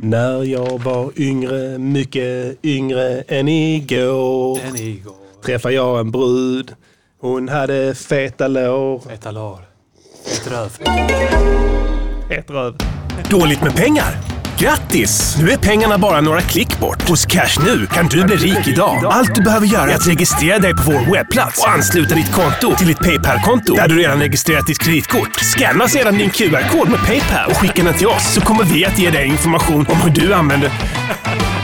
När jag var yngre, mycket yngre än igår Den igår. träffade jag en brud. Hon hade feta lår. Ett alar. Ett röv. Ett röv. Dåligt med pengar? Grattis! Nu är pengarna bara några klick bort. Hos Cash Nu kan du bli rik idag. Allt du behöver göra är att registrera dig på vår webbplats och ansluta ditt konto till ditt Paypal-konto där du redan registrerat ditt kreditkort. Scanna sedan din QR-kod med Paypal och skicka den till oss så kommer vi att ge dig information om hur du använder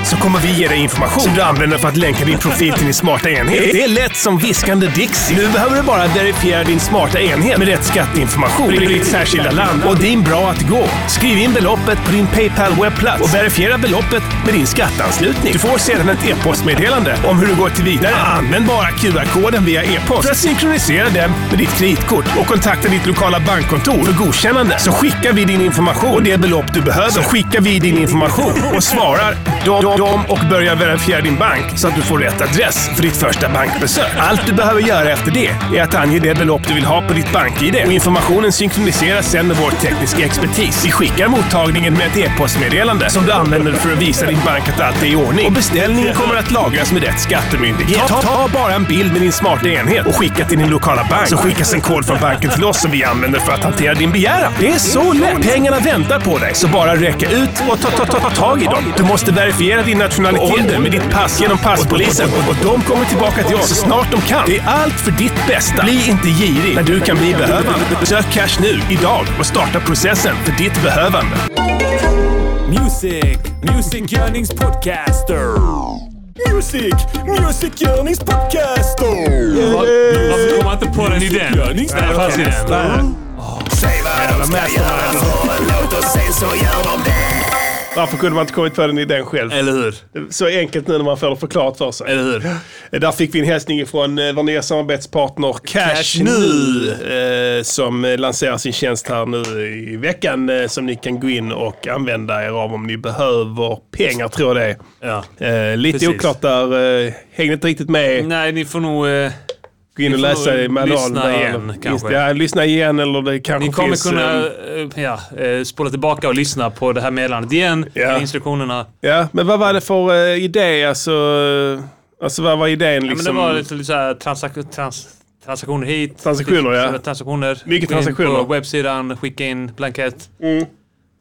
så kommer vi ge dig information som du använder för att länka din profil till din smarta enhet. Det är lätt som viskande Dixie. Nu behöver du bara verifiera din smarta enhet med rätt skatteinformation i ditt särskilda land och din bra att gå. Skriv in beloppet på din Paypal-webbplats och verifiera beloppet med din skatteanslutning. Du får sedan ett e-postmeddelande om hur du går till vidare. Använd bara QR-koden via e-post för att synkronisera den med ditt kreditkort och kontakta ditt lokala bankkontor för godkännande. Så skickar vi din information och det belopp du behöver. Så skickar vi din information och svarar dom, dom, dom och börjar verifiera din bank så att du får rätt adress för ditt första bankbesök. Allt du behöver göra efter det är att ange det belopp du vill ha på ditt bank-id och informationen synkroniseras sen med vår tekniska expertis. Vi skickar mottagningen med ett e-postmeddelande som du använder för att visa din bank att allt är i ordning och beställningen kommer att lagras med rätt skattemyndighet. Ta, ta bara en bild med din smarta enhet och skicka till din lokala bank så skickas en kod från banken till oss som vi använder för att hantera din begäran. Det är så lätt! Pengarna väntar på dig, så bara räcka ut och ta, ta, ta, ta tag i dem. Du måste verifiera din nationalitet och ålder med ditt pass genom passpolisen och de kommer tillbaka till oss så snart de kan. Det är allt för ditt bästa. Bli inte girig när du kan bli behövande. Besök Cash nu, idag och starta processen för ditt behövande. Music. Music Yearnings Podcaster. Music, music yearnings podcaster. Varför kom man inte på den idén? Nej, det fanns inte. Säg vad de ska göra för en låt och sen så gör de det. Varför kunde man inte kommit på den idén själv? Eller hur? Så enkelt nu när man får det förklarat för sig. Eh, Eller hur? Där fick vi en hälsning från eh, vår nya samarbetspartner Cash, Cash Nu eh, som eh, lanserar sin tjänst här nu i veckan eh, som ni kan gå in och använda er av om ni behöver pengar tror jag det är. Ja. Eh, lite Precis. oklart där. Eh, hängde inte riktigt med. Nej, ni får nog... Eh, Gå in Ni och får läsa nog i manualen. lyssna där. igen, Just kanske. det, Ja, lyssna igen eller det kanske ni kommer finns... kunna eh, eh, ja, eh, spola tillbaka och lyssna på det här meddelandet igen. Ja. med Instruktionerna. ja, men vad var det för eh, idé? Alltså, eh, alltså vad var idén Ja, men liksom? det var lite, lite så här transak- trans- transaktioner hit. Transaktioner, ja. Så- Transaktioner. Mycket Gå in transaktioner. Mm. På webbsidan, skicka in blankett.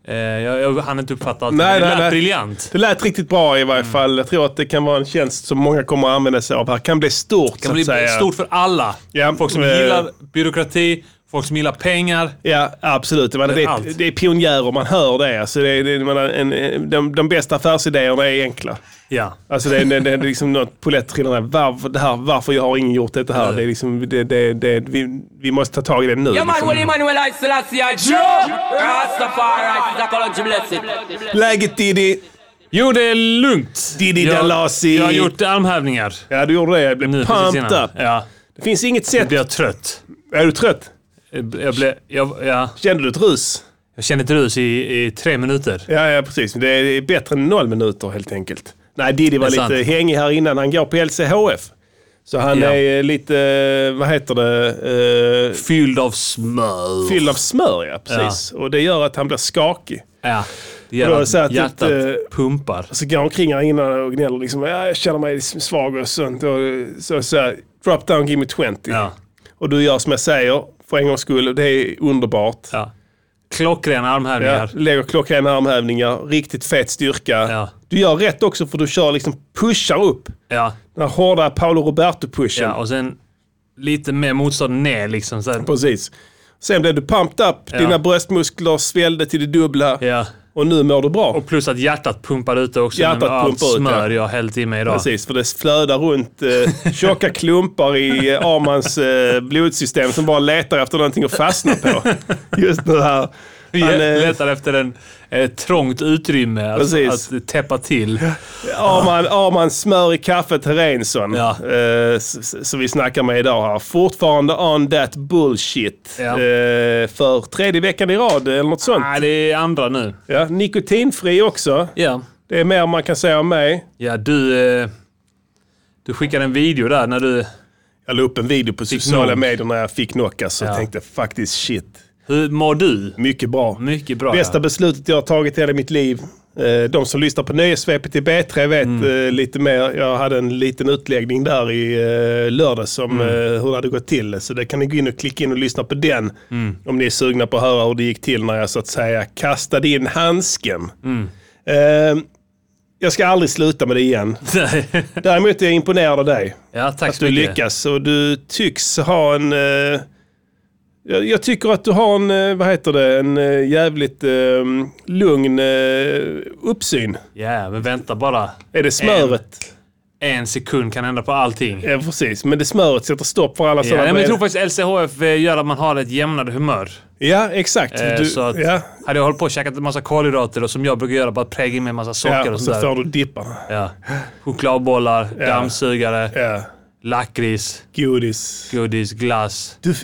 Eh, jag, jag hann inte uppfatta allt. Nej, men det nej, lät nej. briljant. Mm. Det lät riktigt bra i varje fall. Jag tror att det kan vara en tjänst som många kommer att använda sig av. här kan bli stort Det kan så bli att säga. stort för alla. Ja, folk som eh, gillar byråkrati, folk som gillar pengar. Ja, absolut. Jag menar, Det det, är är, allt. det är pionjärer, man hör det. Alltså, det, är- det är- jag menar, en, en, de, de bästa affärsidéerna är enkla. Ja. Alltså det, är- det, det är liksom något polett trillar ner. Varför, det här, varför har ingen gjort detta här? Det är liksom, det, det, det, vi, vi måste ta tag i det nu. Yeah, man, liksom. when Emmanuel I Selassie I Joe Rastafari is a column blessed. Liksom, Läget Diddy? Jo, det är lugnt. Diddy jag, Dalasi. Jag har gjort armhävningar. Ja, du gjorde det. Jag blev Nu precis pumped innan. up. Ja. Det finns inget Jag sätt. blev trött. Är du trött? Jag, blev, jag, ja. Kände du ett rus? jag kände ett rus i, i tre minuter. Ja, ja precis. Det är bättre än noll minuter helt enkelt. Nej, Diddy var Det är lite sant. hängig här innan. Han går på LCHF. Så han Ja. är eh, lite, eh, vad heter det, eh, Fylld av smör. fylld av smör. Ja, precis. Och det gör att han blir skakig. Ja. Det Då är gör det så att att hjärtat ett, eh, pumpar. Så går han omkring här innan och gnäller liksom, ja, jag känner mig svag och sånt. Och så, så här, drop down, give me 20. Ja. Och du gör som jag säger, för en gångs skull. Det är underbart. Ja. Klockrena Ja, armhävningar. lägger klockrena armhävningar, riktigt fet styrka. Ja. Du gör rätt också för du kör liksom, pushar upp. Ja. Den här hårda Paolo Roberto-pushen. ja. Och sen lite mer motstånd ner liksom. Så här. Precis. Sen blev du pumped up, Ja. dina bröstmuskler svällde till det dubbla Ja. och nu mår du bra. Och plus att hjärtat pumpar ut också. Hjärtat med allt pumpar ut, ja. smör jag har hällt i mig idag. Precis, för det flödar runt eh, tjocka klumpar i eh, Armans eh, blodsystem som bara letar efter någonting att fastna på. Just nu här. Vi Han, eh, letar efter en eh, trångt utrymme att, Precis. att täppa till. Arman, Arman smör i kaffet Herensson, Ja. eh, s- s- som vi snackar med idag här. Fortfarande on that bullshit. Ja. Ah. Eh, för tredje veckan i rad eller något sånt. Nej, det är andra nu. Ja, nikotinfri också. Ja. Det är mer man kan säga om mig. Ja, du... Eh, du skickade en video där när du... Jag la upp en video på sociala nog. medier när jag fick knock alltså. Ja. Jag tänkte faktiskt shit. Hur mår du? Mycket bra. Mycket bra. Bästa beslutet jag har tagit i hela mitt liv. Eh, De som lyssnar på Nöjesvepet i B3 vet eh, lite mer. Jag hade en liten utläggning där i eh, lördags om eh, hur det hade gått till. Så det kan ni gå in och klicka in och lyssna på den. Om ni är sugna på att höra hur det gick till när jag så att säga kastade in handsken. Eh, Jag ska aldrig sluta med det igen. Däremot är jag imponerad av dig. ja, tack Att så du mycket. lyckas och du tycks ha en... Eh, jag, jag tycker att du har en, eh, vad heter det, en eh, jävligt eh, lugn eh, uppsyn. Ja, men vänta bara. Är det smöret? En sekund kan ändra på allting. Ja, precis. Men det smöret sätter stopp för alla Ja, sådana... men jag tror faktiskt LCHF eh, gör att man har ett jämnare humör. ja exakt. Eh, Du, så att ja, hade jag hållit på och käkat en massa kolhydrater och som jag brukar göra, bara prägla in med en massa socker ja, och så sånt får där. du dipparna. Ja. Chokladbollar, dammsugare, Ja, lakrits, godis. godis, glass. Du,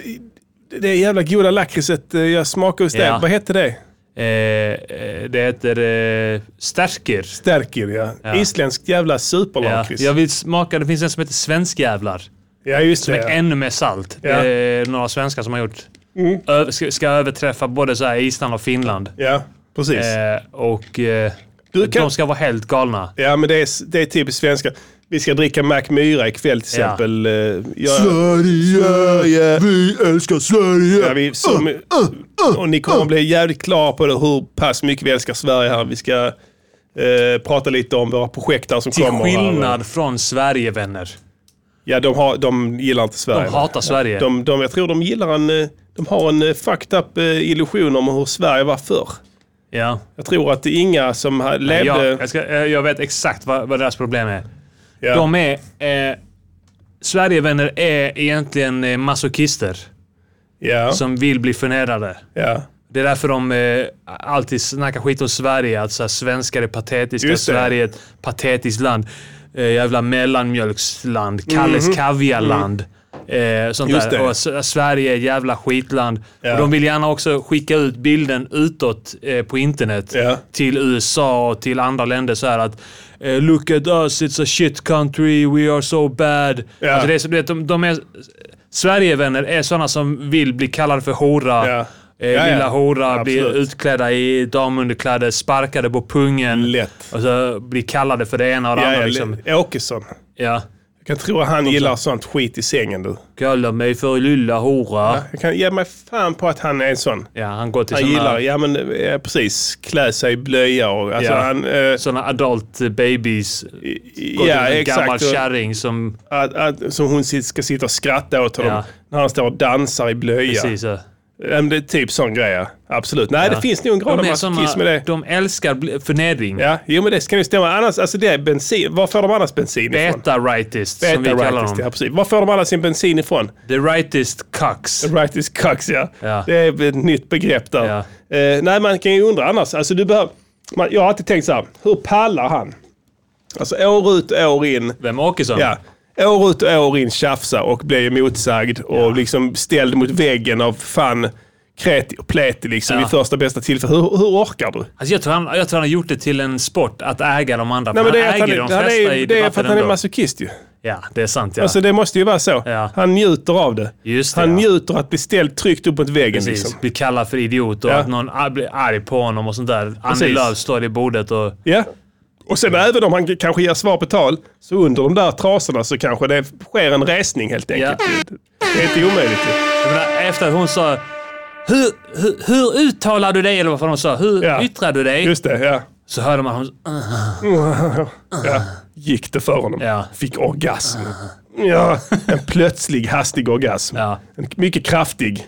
det jävla goda lakritset eh, jag smakade hos dig, Ja. vad hette det? Eh, eh, det heter eh, stärker. Stärker, ja. Ja. Isländskt jävla Ja. superlakrits. Jag vill smaka, det finns en som heter svenskjävlar. Ja, just det. Med Ja. ännu mer salt. Ja. Mm. Det är några svenskar som har gjort. Ö- ska, ska överträffa både så här Island och Finland. ja, precis. Eh, och eh, Du kan- de ska vara helt galna. Ja, men det är, det är typiskt svenska. Vi ska dricka Mac Myra ikväll till Ja. exempel. Eh, Jag, Sverige, vi älskar Sverige. Ja, vi, som, och ni kommer bli jävligt klara på det, hur pass mycket vi älskar Sverige här. Vi ska eh, prata lite om våra projekt här som Till kommer. Här. skillnad från Sverigevänner. Ja, de, har, de gillar inte Sverige. De hatar Sverige. De, de, jag tror de gillar en... eh, De har en eh, fucked up eh, illusion om hur Sverige var förr. Ja. Jag tror att det är inga som ha- levde... Jag, jag, ska, eh, jag vet exakt vad, vad deras problem är. Ja. De är... Eh, Sverigevänner är egentligen eh, masochister ja, som vill bli förnedrade. ja. Det är därför de eh, alltid snackar skit om Sverige. Att så här, svenskar är patetiska. Just det. Sverige är ett patetiskt land. Eh, jävla mellanmjölksland. Kalles kaviarland. Eh, sånt Mhm. Just där. det. Och S- Sverige är ett jävla skitland. Ja. Och de vill gärna också skicka ut bilden utåt eh, på internet. Ja. Till USA och till andra länder. Så här att eh, “Look at us, it's a shit country, we are so bad”. Ja. Alltså det är, så- du vet, de, de är, Sverigevänner är sådana som vill bli kallade för hora. Ja. Eh, Ja, ja. lilla hora blir Absolut. utklädda i damunderkläder, sparkade på pungen. Lätt. Och så blir kallade för det ena och det ja, andra. ja, Liksom. Åkesson. Ja. Jag kan tro att han gillar sånt skit i sängen du. Kallar mig för lilla hora. Ja, Jag kan ge mig fan på att han är en sån. han går till Han såna, gillar, ja men eh, precis, klä sig i blöja och alltså Ja. han... Eh, såna adult babies. Går ja, till en gammal exakt. Och kärring som... Att, att, som hon sit- ska sitta och skratta åt honom Ja. när han står och dansar i blöja. Precis, ja. Ja, men det är typ sån grej, ja. absolut. Nej, det finns nog en grad av de, är masochism med såna, det. de älskar bl- förnedring. Ja, jo men det ska ju stämma. Annars, alltså det är bensin. Var får de annars bensin ifrån? Beta-rightist, som vi kallar rightist, dem. ja, precis. Var får de alla sin bensin ifrån? The rightist cucks. Rightist cucks, ja. Ja. Det är ett nytt begrepp där. Ja. Eh, nej, man kan ju undra annars. Alltså, du behöver, man, jag har alltid tänkt så här, hur pallar han? Alltså år ut och år in. Vem? Åkesson? Ja. År ut och år in tjafsa och bli motsagd och liksom ställd mot väggen av fan kreti och pleti liksom Ja. vid första bästa tillfälle. Hur, hur orkar du? Alltså jag, tror han, jag tror han har gjort det till en sport att äga de andra. Nej, för men det han är, att äger han, de är- han flesta i är, det är för debatten att han är ändå. masochist ju. Ja, det är sant ja. Alltså det måste ju vara så. Ja. Han njuter av det. Just det, han ja. njuter att bli ställd tryckt upp mot väggen. Precis. Liksom. Bli kallad för idiot och Ja. att någon ar- blir arg på honom och sånt där. Annie Precis. Lööf står i bordet och... Ja. Och sen även om han k- kanske ger svar på tal, så under de där trasorna så kanske det sker en resning helt enkelt. Det är inte omöjligt. ju. typ. Jag menar, efter att hon sa... Hur, hur, hur uttalar du dig? Eller vad fan hon sa. Hur Ja. yttrar du dig? Just det, ja. Så hörde man hon... ja. Gick det för honom. Ja. Fick orgasm. Ja, en plötslig hastig orgasm. Ja. En mycket kraftig.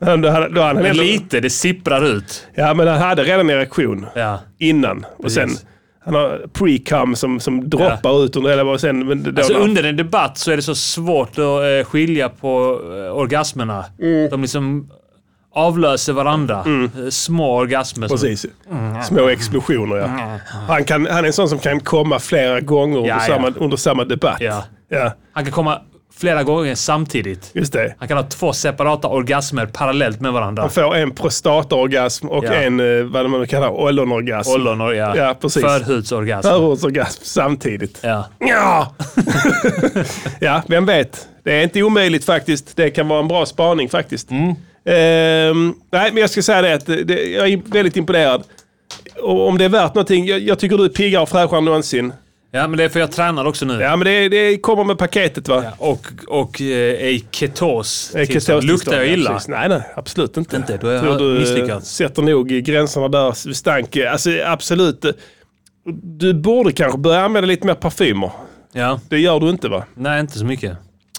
Han, då hade, då hade han Men ändå, lite, det sipprar ut. ja, men han hade redan en erektion Ja. innan. Och sen, Precis. han har pre-cum som, som droppar ut under hela... Och sen, men då, Alltså under en debatt så är det så svårt att eh, skilja på eh, orgasmerna. Mm. De liksom avlöser varandra. Eh, Små orgasmer. som- Precis. Mm. Små explosioner, ja. Han, kan, han är en sån som kan komma flera gånger under, Ja, ja. samma, under samma debatt. Ja. Ja, Han kan komma flera gånger samtidigt. just det. Han kan ha två separata orgasmer parallellt med varandra. Han får en prostataorgasm och Ja. en, eh, vad man nu kallar, ollonorgasm. Ollon och ja. Ja, precis. Förhudsorgasm. Förortsorgasm samtidigt. Ja. Ja. ja, vem vet. Det är inte omöjligt faktiskt. Det kan vara en bra Mm. spaning faktiskt. Ehm, nej, men jag ska säga det att det, det, jag är väldigt imponerad. Och om det är värt någonting, jag, jag tycker du är piggare och fräschare än någonsin. Ja, men det är för jag tränar också nu. Ja, men det, det kommer med paketet va? Ja, Och, och eh, är i ketos. Det är tillstånd. ketostillstånd, Luktar jag Eh, ja, illa? precis. Nej, nej, absolut inte. Inte, då har jag Tror du eh, misslyckats. sätter nog i gränserna där, stank. Alltså absolut. Du borde kanske börja använda lite mer parfymer. Ja. Det gör du inte va? Nej, inte så mycket.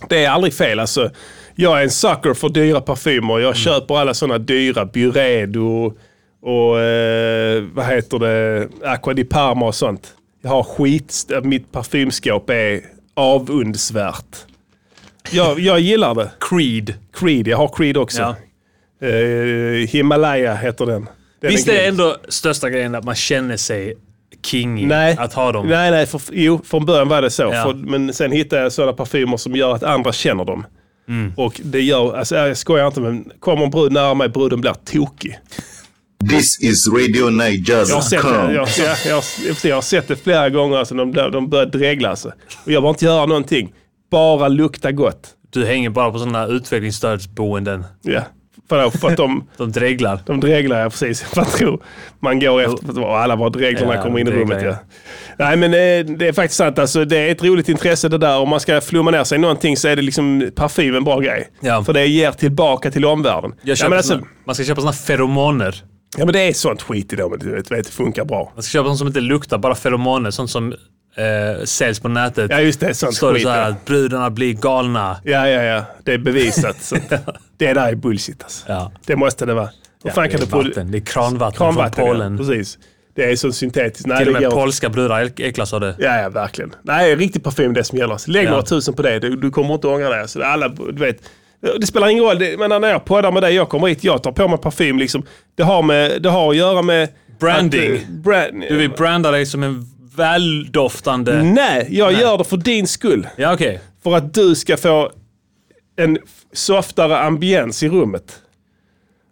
Det är aldrig fel alltså. Jag är en sucker för dyra parfymer. Mm. Jag köper alla sådana dyra. Byredo och eh, vad heter det? Aqua di Parma och sånt. Jag har skit. Mitt parfymskåp är avundsvärt. Jag, jag gillar det. Creed. Creed. Jag har Creed också. Ja. Eh, Himalaya heter den. den Visst är grym. det ändå största grejen att man känner sig king Nej. att ha dem? Nej, nej. För, jo, från början var det så. Ja. För, men sen hittade jag sådana parfymer som gör att andra känner dem. Mm. Och det gör, alltså jag skojar inte men kommer en brud nära mig, bruden blir tokig. This is Radio Jag har sett Niger's.com. det, jag, jag, jag, jag har sett det flera gånger, alltså, de, de börjar dregla alltså. Och jag behöver inte göra någonting, bara lukta gott. Du hänger bara på sådana utvecklingsstödsboenden. Ja. För, då- för att de, De dreglar. de dreglar, ja precis. Man tror man går efter, och alla bara dreglarna Ja, kommer in i dreglar, rummet. ja. Ja. Nej men eh, det är faktiskt sant, alltså, det är ett roligt intresse det där. Om man ska flumma ner sig i någonting så är det liksom parfym en bra grej. Ja. För det ger tillbaka till omvärlden. Jag ja, köper men alltså, såna, man ska köpa såna feromoner. Ja men det är sånt skit i dem, du vet, vet, det funkar bra. Man ska köpa sånt som inte luktar, bara feromoner. Sånt som eh, säljs på nätet. Ja just det, sånt Står det skit. så här Ja. att brudarna blir galna. ja ja ja, det är bevisat. sånt. Det där är bullshit alltså. Ja. Det måste det vara. Hur fan det, kan är det produ- vatten. det är kranvatten, Kranvatten, från Ja, Polen. precis. Det är sånt syntetiskt. Nej, Till och det med går polska brudar äck- äcklas av det. Ja, ja, verkligen. Nej, riktig parfym är det som gäller. Så Lägg Ja. några tusen på det. Du, du kommer inte ångra dig. Så alla, du vet, det spelar ingen roll. Det, men när jag poddar med dig, jag kommer hit, jag tar på mig parfym. Liksom. Det, har med, det har att göra med... Branding. Att, eh, brand, Du vill branda dig som en väldoftande... Nej, jag gör det för din skull. Ja, okej. För att du ska få en f- softare ambiens i rummet.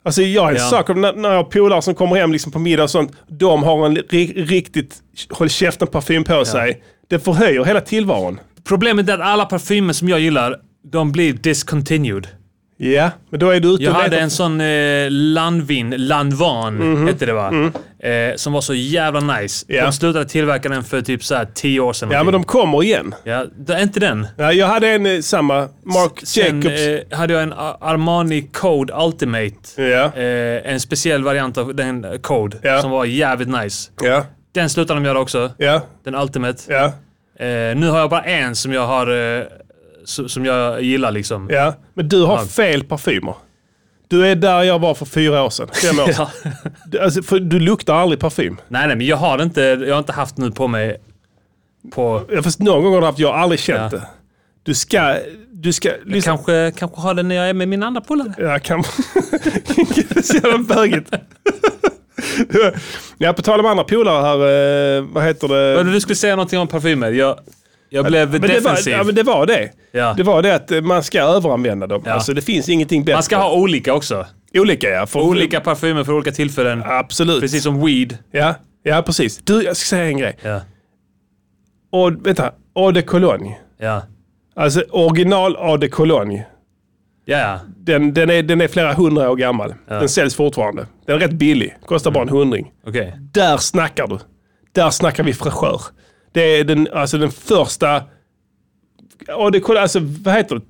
Alltså jag är en Ja. sucker. När, när jag har polare som kommer hem liksom på middag och sånt. De har en ri, riktigt håll käften-parfym på sig. Det förhöjer hela tillvaron. Problemet är att alla parfymer som jag gillar, de blir discontinued. Ja, men då är du ute Jag och hade letar- en sån eh, Lanvin, Lanvan hette det va? Eh, som var så jävla nice. Mhm. Mm. Ja. De slutade tillverka den för typ så här 10 år sedan. Ja, men de kommer igen. ja, det är inte den. Ja, jag hade en eh, samma, Mark Sen Jacobs. eh, hade jag en A- Armani Code Ultimate. Ja. Eh, en speciell variant av den eh, Code Ja. som var jävligt nice. ja, Den slutade de göra också. ja, Den Ultimate. ja, Eh, nu har jag bara en som jag har... Eh, s- som jag gillar liksom. ja. Men du har Ja. fel parfymer. Du är där jag var för fyra år sedan. Fem år sedan. Ja. Du- alltså, för du luktar aldrig parfym. Nej, nej, men jag har inte, jag har inte haft nu på mig på... Ja, Fast någon gång har du haft, jag har aldrig känt Ja. det. Du ska... Du ska... lyssna- Kanske, kanske har den när jag är med min andra polare. Ja, kan... det är så jävla bögigt. Ja, på tal om andra polare här. eh, Vad heter det? Men Du skulle säga någonting om parfymer. Jag, jag blev Men det, var, defensiv. ja, men det var det. Ja. Det var det att eh, man ska överanvända dem. Ja. Alltså, det finns ingenting bättre. Man ska ha olika också. Olika ja. För Olika parfymer för olika tillfällen. Absolut. Precis som weed. Ja, ja, precis. Du, jag ska säga en grej. Ja. Och, vänta, Eau de Cologne. Ja. Alltså original Eau de Cologne. Ja, ja. Den, den, är, den är flera hundra år gammal. Den säljs fortfarande. Den är rätt billig. Kostar bara en hundring. Okej. Där snackar du. Där snackar vi fräschör. Det är den, alltså den första... Eau de Cologne, alltså vad heter det?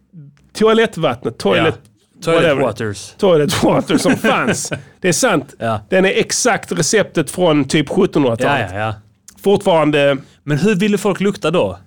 Toalettvattnet. Toilet... Ja. Toilet whatever. waters. Toilet water som fanns. Det är sant. Ja. Den är exakt receptet från typ 1700-talet. Ja, ja, ja. Fortfarande... Men hur ville folk lukta då?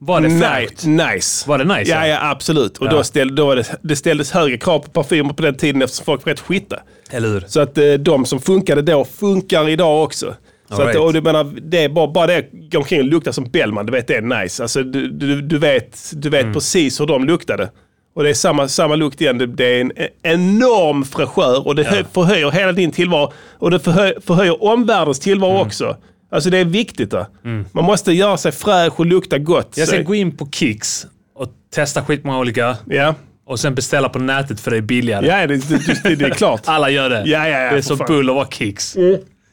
Var det Nej, fräckt? nice. Var det nice, Ja, ja? ja absolut. Och Ja. Då, ställ, då var det, det ställdes högre krav på parfymer på den tiden eftersom folk var rätt skita. Eller hur? Så att eh, de som funkade då funkar idag också. Så All att, right. och du menar, det är bara, bara det att gå omkring och lukta som Bellman, du vet det är nice. Alltså, du, du, du vet, du Mm. vet precis hur de luktade. Och det är samma, samma lukt igen. Det, det är en en enorm fräschör och det hö, förhöjer hela din tillvaro. Och det förhö, förhöjer omvärldens tillvaro Mm. också. Alltså det är viktigt. va? Man måste göra sig fräsch och lukta gott. Jag ska Så- gå in på Kicks och testa skitmånga olika Ja, och sen beställa på nätet för det är billigare. ja det, det, det, det är klart. Alla gör det. Ja, ja, ja, det är för som fan. Mm. bull att vara kicks.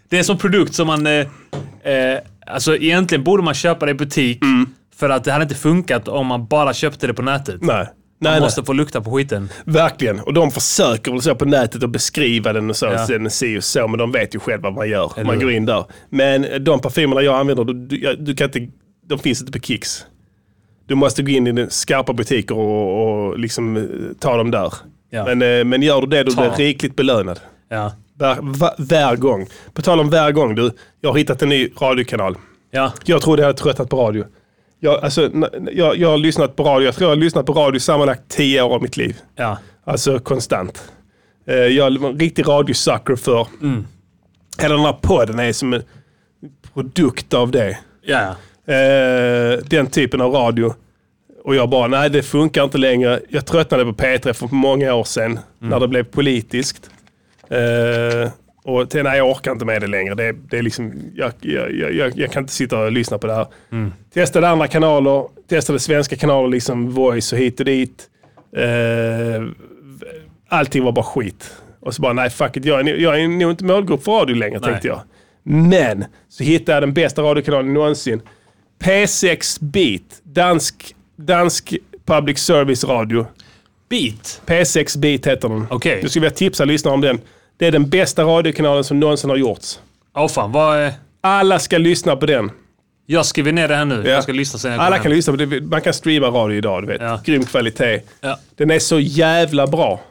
Det är som produkt som man... Eh, eh, alltså egentligen borde man köpa det i butik. För att det hade inte funkat om man bara köpte det på nätet. Mm. Nej. Nej, nej. måste få lukta på skiten. Verkligen. Och de försöker väl så på nätet att beskriva den och så, Ja. sen si och så, men de vet ju själva vad man gör. Eller man hur? går in där. Men de parfymerna jag använder, du, du, jag- du kan inte, de finns inte på Kicks. Du måste gå in i den skarpa butiker och, och liksom eh, ta dem där. Ja. Men, eh, men gör du det, du Ta. blir rikligt belönad. Ja. Var, va- varje gång. På tal om varje gång, du. Jag har hittat en ny radiokanal. Ja. Jag trodde jag hade tröttnat på radio. Jag, alltså, n- jag, jag har lyssnat på radio. Jag tror jag har lyssnat på radio sammanlagt tio år av mitt liv. Ja. Alltså konstant. Eh, Jag var en riktig radiosucker för... Hela den här podden är som en produkt av det. Ja. Eh, Den typen av radio. Och jag bara, nej det funkar inte längre. Jag tröttnade på P3 för många år sedan. När det blev politiskt. Eh, Och till, nej jag orkar inte med det längre. Det, det är liksom, jag, jag, jag- jag, jag kan inte sitta och lyssna på det här. Testade andra kanaler. Testade svenska kanaler, liksom Voice och hit och dit. Eh, allting var bara skit. Och så bara, nej fuck it, jag är, nog- jag är nog inte målgrupp för radio längre Nej. tänkte jag. Men, så hittade jag den bästa radiokanalen någonsin. P6 Beat, dansk, dansk public service radio. Beat. P6 Beat heter den. Okej. Du skulle vilja tipsa lyssnarna om den. Det är den bästa radiokanalen som någonsin har gjorts. Åh fan, vad... eh, Alla ska lyssna på den. Jag skriver ner det här nu. Ja. Jag ska lyssna sen jag Alla kommer kan hem. lyssna på det. Man kan streama radio idag, du vet. Ja. Grym kvalitet. Ja. Den är så jävla bra.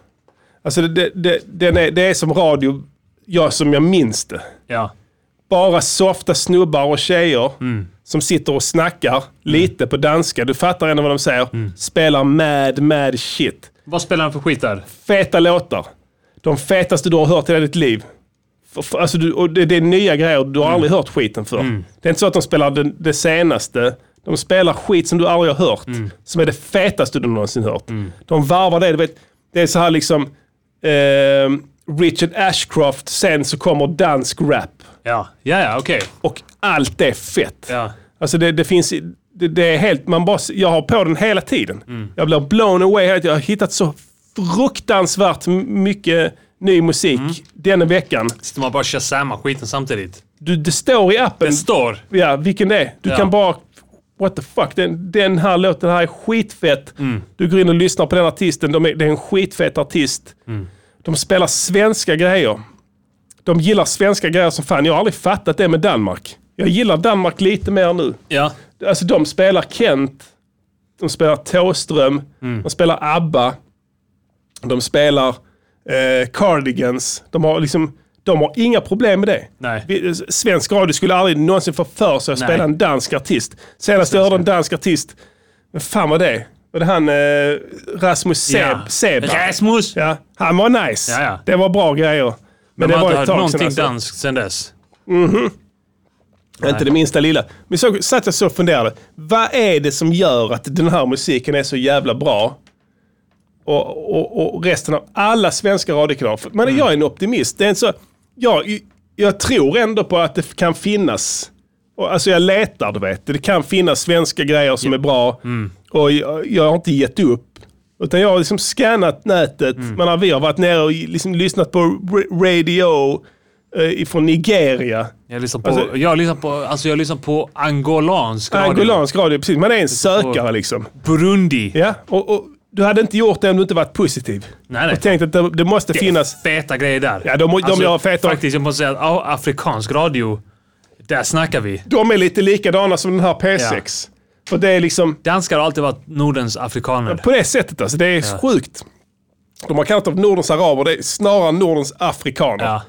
Alltså det, det, det, den är, det är som radio, ja, som jag minns det. Ja. Bara softa snubbar och tjejer Mm. som sitter och snackar lite på danska. Du fattar ändå vad de säger. Mm. Spelar mad, mad shit. Vad spelar han för skit där? Feta låtar. De fetaste du har hört i hela ditt liv. F- f- Alltså du, och det, det är nya grejer du har aldrig hört skiten för. Det är inte så att de spelar det, det senaste. De spelar skit som du aldrig har hört. Som är det fetaste du någonsin hört. De varvar det. Du vet, det är så här liksom... ehm, Richard Ashcroft, sen så kommer dansk rap. Ja. Ja, ja, okej. Och allt är fett. Ja. Alltså det, det finns... Det, det är helt... Man bara, jag har på den hela tiden. Mm. Jag blir blown away. hela tiden. Jag har hittat så fruktansvärt m- mycket ny musik Mm. denna veckan. Sitter man bara och shazammar skiten samtidigt? Du, det står i appen. Det står. Ja, vilken det är. Du Ja. kan bara... What the fuck, den, den här låten här är skitfett. Mm. Du går in och lyssnar på den artisten, De är, det är en skitfett artist. Mm. De spelar svenska grejer. De gillar svenska grejer som fan. Jag har aldrig fattat det med Danmark. Jag gillar Danmark lite mer nu. Ja. Alltså de spelar Kent, de spelar Thåström, Mm. de spelar ABBA, de spelar eh, Cardigans. De har, liksom, de har inga problem med det. Nej. Vi, eh, svensk radio skulle aldrig någonsin få för sig att Nej. spela en dansk artist. Senast jag hörde en dansk artist, vad fan var det? Var det han eh, Rasmus Seb, Ja. Seba? Rasmus! Ja, han var nice. Ja, ja. Det var bra grejer. Men, Man det har var inte ett hört tag någonting sedan. alltså. danskt sen dess. Inte det minsta lilla. Men så satt jag så och funderade. Vad är det som gör att den här musiken är så jävla bra? Och, och, och resten av alla svenska radiokanaler. För- Men jag är en optimist. Det är inte så, jag, jag tror ändå på att det kan finnas. Och, alltså jag letar, du vet. Det kan finnas svenska grejer som är bra. Och jag, jag har inte gett upp. Utan jag har liksom scannat nätet. Man har, vi har varit nere och liksom lyssnat på r- radio eh, från Nigeria. Jag lyssnar på, Alltså- jag lyssnar på, alltså jag lyssnar på angolansk radio. Angolansk radio, precis. Man är en sökare liksom. Burundi. Ja, och, och du hade inte gjort det om du inte varit positiv. Nej, nej. Och tänkt att det, det måste finnas... Feta grejer där. Alltså, Ja, de- de gör feta- Faktiskt, jag måste säga att ja, afrikansk radio, där snackar vi. De är lite likadana som den här P6. För det är liksom... Danskar har alltid varit Nordens afrikaner. På det sättet alltså, det är sjukt. De har kallat dem Nordens araber, det är snarare Nordens afrikaner. Ja.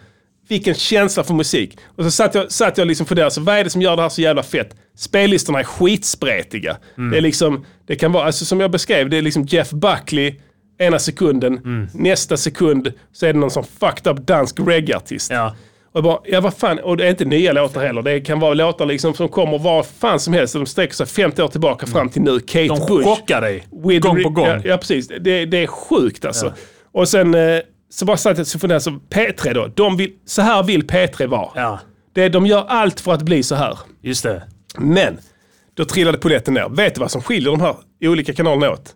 Vilken känsla för musik. Och så satt jag, satt jag liksom funderade, så vad är det som gör det här så jävla fett? Spellistorna är skitspretiga. Mm. Det är liksom, det kan vara, alltså som jag beskrev, det är liksom Jeff Buckley ena sekunden, Mm. nästa sekund så är det någon som fucked up dansk reggae-artist. Ja. Och jag bara, ja vad fan, och det är inte nya låtar heller. Det kan vara låtar liksom som kommer var fan som helst. De sträcker sig 50 år tillbaka fram till nu. Kate Mm. De Bush. chockar dig. With gång re- på gång. Ja, ja precis. Det, det är sjukt alltså. Och sen eh, så bara satt jag så funderade jag, så P3 då. De vill, så här vill P3 vara. Ja, Det, de gör allt för att bli så här. just det. Men, då trillade polletten ner. Vet du vad som skiljer de här olika kanalerna åt?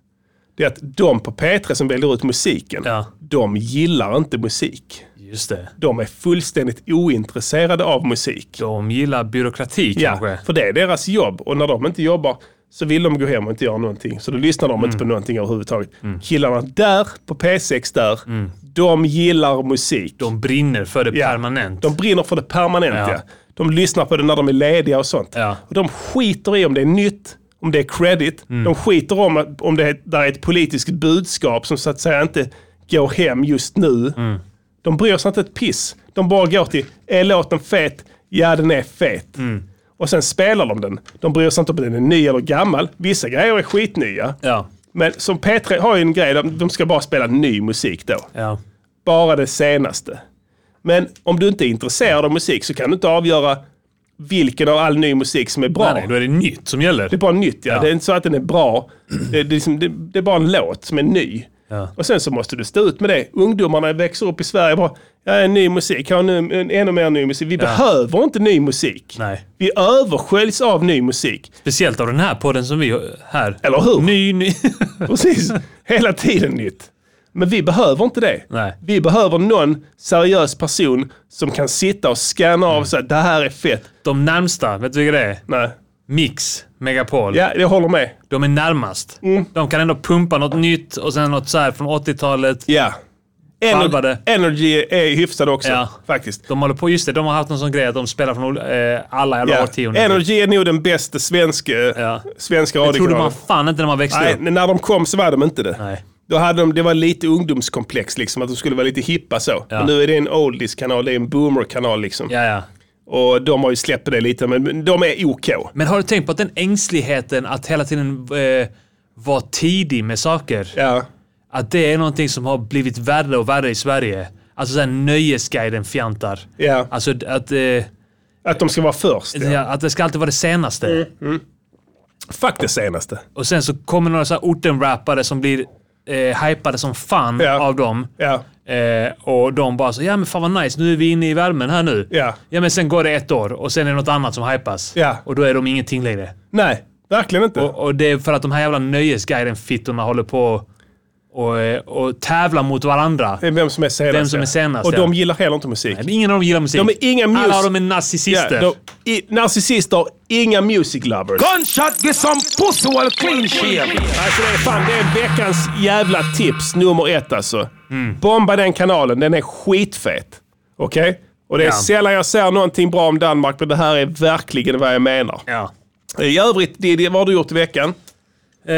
Det är att de på P3 som väljer ut musiken, Ja. de gillar inte musik. Just det. De är fullständigt ointresserade av musik. De gillar byråkrati Ja, kanske. för det är deras jobb. Och när de inte jobbar så vill de gå hem och inte göra någonting. Så då lyssnar de inte på Mm. någonting överhuvudtaget. Killarna där, på P6 där, de gillar musik. Mm. De brinner för det Ja. permanent. De brinner för det permanent. Ja. Ja. De lyssnar på det när de är lediga och sånt. Ja. Och de skiter i om det är nytt, om det är credit. Mm. De skiter om, om det är, där är ett politiskt budskap som så att säga inte går hem just nu. Mm. De bryr sig inte ett piss. De bara går till, är låten fet? Ja, den är fet. Mm. Och sen spelar de den. De bryr sig inte om den är ny eller gammal. Vissa grejer är skitnya. Ja. Men som P3 har ju en grej, de, de ska bara spela ny musik då Ja. bara det senaste. Men om du inte är intresserad av musik så kan du inte avgöra vilken av all ny musik som är bra. Nej, nej, då är det nytt som gäller. Det är bara nytt, ja. Ja. Det är inte så att den är bra. Det, det, är liksom, det, det är bara en låt som är ny. Ja. Och sen så måste du stå ut med det. Ungdomarna växer upp i Sverige och bara, ja, ny musik, ja, nu, en, ännu mer ny musik. Vi behöver inte ny musik. Nej. Vi översköljs av ny musik. Speciellt av den här podden som vi har här. Eller hur? Ny, ny. Precis. Hela tiden nytt. Men vi behöver inte det. Nej. Vi behöver någon seriös person som kan sitta och scanna av så här, det här är fett. De närmsta, vet du vilka det är? Nej. Mix, Megapol. Ja, Mm. jag håller med. De är närmast. De kan ändå pumpa något nytt och sen något så här från 80-talet. Ja. Varvade. Energy är hyfsad också, Ja. faktiskt. De håller på, just det, de har haft en sån grej att de spelar från eh, alla jävla Ja. årtionden. Energy är nog den bästa svenska, Ja. svenska det trodde man radiokanalen. fan inte när man växte Nej, upp. när de kom så var de inte det. Nej. Då hade de, det var lite ungdomskomplex, liksom, att de skulle vara lite hippa så. Men nu är det en oldies-kanal, det är en boomer-kanal. Liksom. Ja, ja. Och de har ju släppt det lite, men- men de är OK. Men har du tänkt på att den ängsligheten att hela tiden eh, vara tidig med saker, Ja. att det är någonting som har blivit värre och värre i Sverige? Alltså såhär Nöjesguiden-fjantar. Ja. Alltså d- att, eh, Att de ska vara först. Ja. Mm. att det ska alltid vara det senaste. Fuck det senaste. Och sen så kommer några så här ortenrappare som blir eh, hypade som fan Ja. av dem. Ja. Eh, och de bara så, ja men fan vad nice, nu är vi inne i värmen här nu. Ja. ja men sen går det ett år och sen är det något annat som hypas. Ja. Och då är de ingenting längre. Nej, verkligen inte. Och, och det är för att de här jävla nöjesguiden-fittorna håller på och, eh, och tävlar mot varandra. Det är vem som är senast. Vem som är senast, Och ja. de gillar heller inte musik. Men Ingen av dem gillar musik. De är inga mus- Alla av dem är narcissister. Ja, de, i, narcissister, inga music lovers. Gunshot, get some pussy while clean shave. Alltså det är fan, det är veckans jävla tips nummer ett alltså. Mm. Bomba den kanalen, den är skitfet. Okej? Och det är Ja. sällan jag ser någonting bra om Danmark, men det här är verkligen vad jag menar. Ja. I övrigt, Diddy, vad har du gjort i veckan? Eh,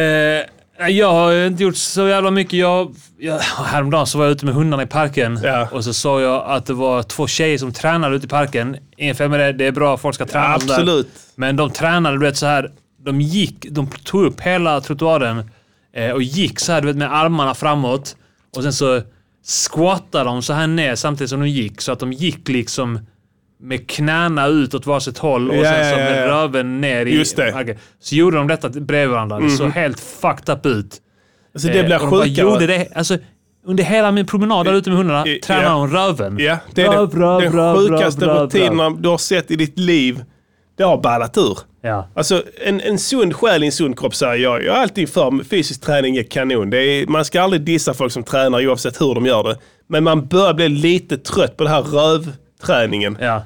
nej, jag har inte gjort så jävla mycket. Jag, jag, häromdagen så var jag ute med hundarna i parken Ja. och så sa jag att det var två tjejer som tränade ute i parken. En femma det, det är bra, folk ska träna. och sådär. absolut. Men de tränade, du vet så här. De gick, de tog upp hela trottoaren eh, och gick så här du vet, med armarna framåt. Och sen så squattade de så här ner samtidigt som de gick. Så att de gick liksom med knäna ut åt varsitt håll och Ja, sen så ja, ja, med ja. röven ner i Just det. marken. Så gjorde de detta bredvid varandra. Det såg helt fucked up ut. Alltså det blir Eh, och de bara sjukare. gjorde det. Alltså, under hela min promenad där ute med hundarna i- tränade ja. de röven. Ja, det är Röv, röv, den, röv, den sjukaste röv, röv, röv. rutinen du har sett i ditt liv. Det har ballat ur. Ja. Alltså en, en sund själ i en sund kropp säger jag. Jag är alltid för fysisk träning är kanon. Det är, man ska aldrig dissa folk som tränar oavsett hur de gör det. Men man börjar bli lite trött på den här rövträningen. Ja.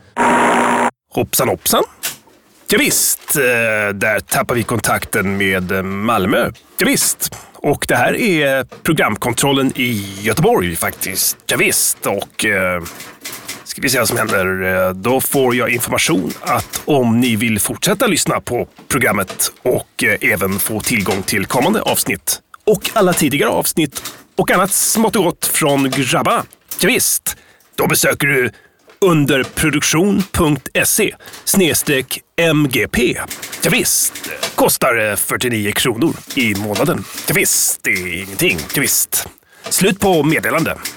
Hoppsan hoppsan. Ja, visst, eh, där tappar vi kontakten med eh, Malmö. Ja, visst. Och det här är programkontrollen i Göteborg faktiskt. Ja, visst. och eh, ska vi se vad som händer. Eh, Då får jag information att om ni vill fortsätta lyssna på programmet och eh, även få tillgång till kommande avsnitt och alla tidigare avsnitt och annat smått och gott från grabba. Ja, visst. då besöker du underproduktion.se E snedstreck MGP. Ja, visst. kostar eh, 49 kronor i månaden. Ja, visst. det är ingenting. Ja, visst. Slut på meddelande.